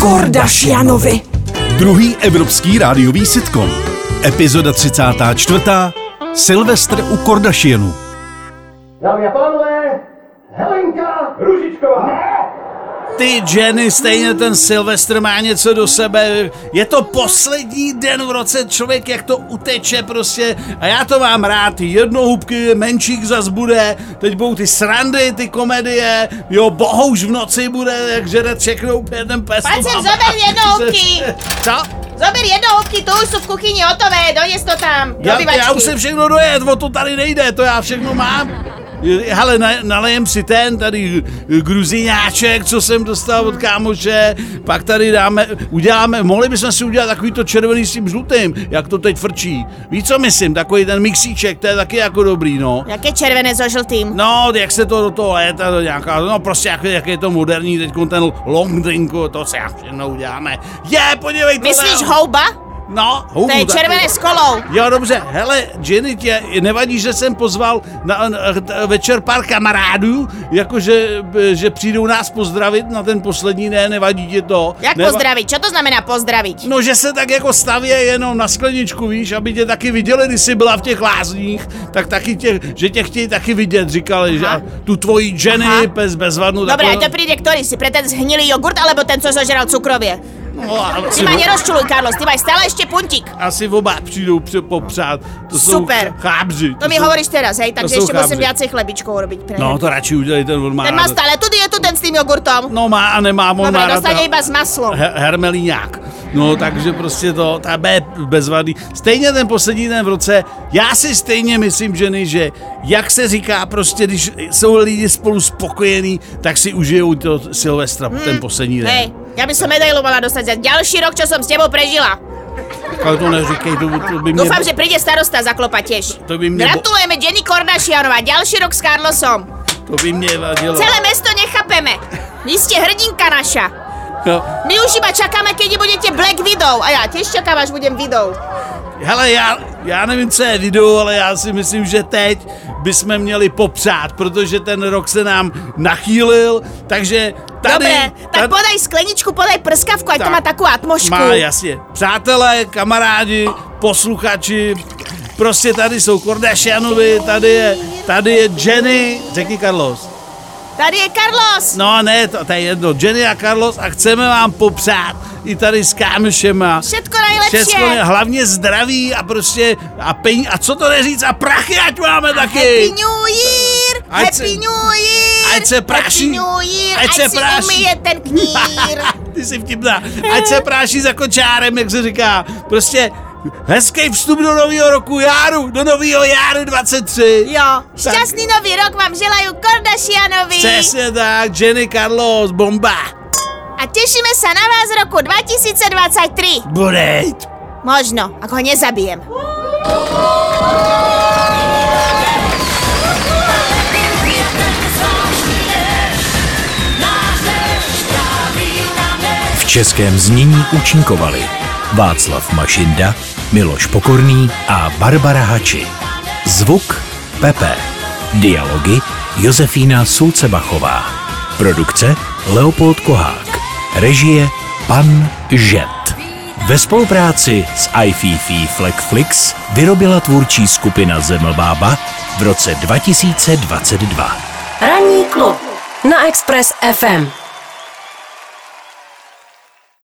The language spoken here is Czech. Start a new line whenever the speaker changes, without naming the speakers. Kordašianovi.
Druhý evropský rádiový sitcom. Epizoda 34. Silvestr u Kordašienů.
Dámy a pánové, Helenka Ružičková. Ne!
Ty, Jenny, stejně ten Silvestr má něco do sebe. Je to poslední den v roce, člověk jak to uteče prostě. A já to mám rád, jednohubky, menšík zas bude, teď budou ty srandy, ty komedie, jo, bohouž v noci bude, jak žere všechno úplně ten pes.
Pan sem zober jednohubky!
Co?
Zober jednohubky, to už jsou v kuchyni hotové, dojes to tam. do
Já,
obyvačky.
já už jsem všechno dojet, o to tady nejde, to já všechno mám. Hele, na- nalejem si ten, tady gruziňáček, co jsem dostal od kámoše, pak tady dáme, uděláme, mohli bychom si udělat takový to červený s tím žlutým, jak to teď frčí. Víš, co myslím, takový ten mixíček, to je taky jako dobrý, no.
Jaké červené so žlutým?
No, jak se to do toho léta, to nějaká, no prostě jak, jak je to moderní, teď ten long drinku, to se já všechno uděláme. Je, podívej, tohle-
Myslíš houba?
No,
To je
houbu taky.
červené s kolou.
Jo, dobře, hele, Jenny, tě nevadí, že jsem pozval na, na, na večer pár kamarádů, jakože b- že přijdou nás pozdravit na ten poslední, ne, nevadí ti to.
Jak
Neva-
pozdravit? Čo to znamená pozdraviť?
No, že se tak jako staví jenom na skleničku, víš, aby tě taky viděli, když jsi byla v těch lázních, tak taky tě, že tě chtějí taky vidět, říkali, že a tu tvoji Jenny,
Aha.
pes bez vanu,
Dobre, a to príde ktorý si, pre ten zhnilý jogurt alebo ten, co zožral cukrovie?
no, a
Ty
asi,
ma nerozčuluj, Carlos, ty maj stále ešte puntík.
asi oba přijdou pře- popřát, to
Super.
jsou chábři.
To mi
jsou-
hovoríš teraz, hej, takže
sú
ešte musím
chábři.
viacej chlebičkov urobiť pre
No,
no,
to radši udělej ten on má
Ten má
rád-
stále tu dietu, ten s tým jogurtom.
No má a nemá, on
Dobre,
má rád
dostane
ta-
iba s maslom.
He- hermelíňák. No, takže prostě to, ta B bezvadný. Stejně ten poslední den v roce, já si stejně myslím, ženy, že jak se říká prostě, když jsou lidi spolu spokojení, tak si užijou to Silvestra, ten poslední den.
Hmm. Hej, ja by som medailu mala dostať za ďalší rok, čo som s tebou prežila.
Ale to neříkej, to, to by mě...
Dúfam, že príde starosta zaklopať tiež.
To by mne-
Gratulujeme Jenny Kordašianová, ďalší rok s Carlosom.
To by mě vadilo.
Celé mesto nechápeme. Vy ste hrdinka naša.
No.
My už iba čakáme, kedy budete Black Widow. A ja tiež čakám, až budem Widow.
Hele, já, já nevím, co je video, ale já si myslím, že teď bychom měli popřát, protože ten rok se nám nachýlil, takže tady...
Dobre, tak
tady-
podaj skleničku, podaj prskavku, aj to
Tak.
má takú atmošku.
Má, jasně. Přátelé, kamarádi, posluchači, prostě tady jsou Kordasianovi, tady je, tady je Jenny, řekni Carlos.
Tady je Carlos.
No ne, to, to je jedno, Jenny a Carlos a chceme vám popřát i tady s kámošema.
Všetko najlepšie.
Všecko, ne- hlavně zdraví a prostě a peň, a co to neříct, a prachy ať máme taky.
Happy New Year!
Ať
Happy
se-
New Year!
ať se práší.
Happy New Year!
Ať se
si
práší.
umyje ten knír!
Ty jsi vtipná. Ať se práší za kočárem, jak se říká. Prostě hezký vstup do nového roku járu, do nového járu 23.
Jo, šťastný nový rok vám želajú Kardashianovi
Přesně tak, Jenny Carlos, bomba.
a tešíme sa na vás v roku 2023.
Bude.
Možno, ak ho nezabijem.
V českém znění účinkovali Václav Mašinda, Miloš Pokorný a Barbara Hači. Zvuk Pepe. Dialogy Josefína Sulcebachová. Produkce Leopold Kohák. Režie Pan Žet. Ve spolupráci s iFiFi Flexflix vyrobila tvůrčí skupina Zemlbába v roce 2022.
Ranní klub na Express FM.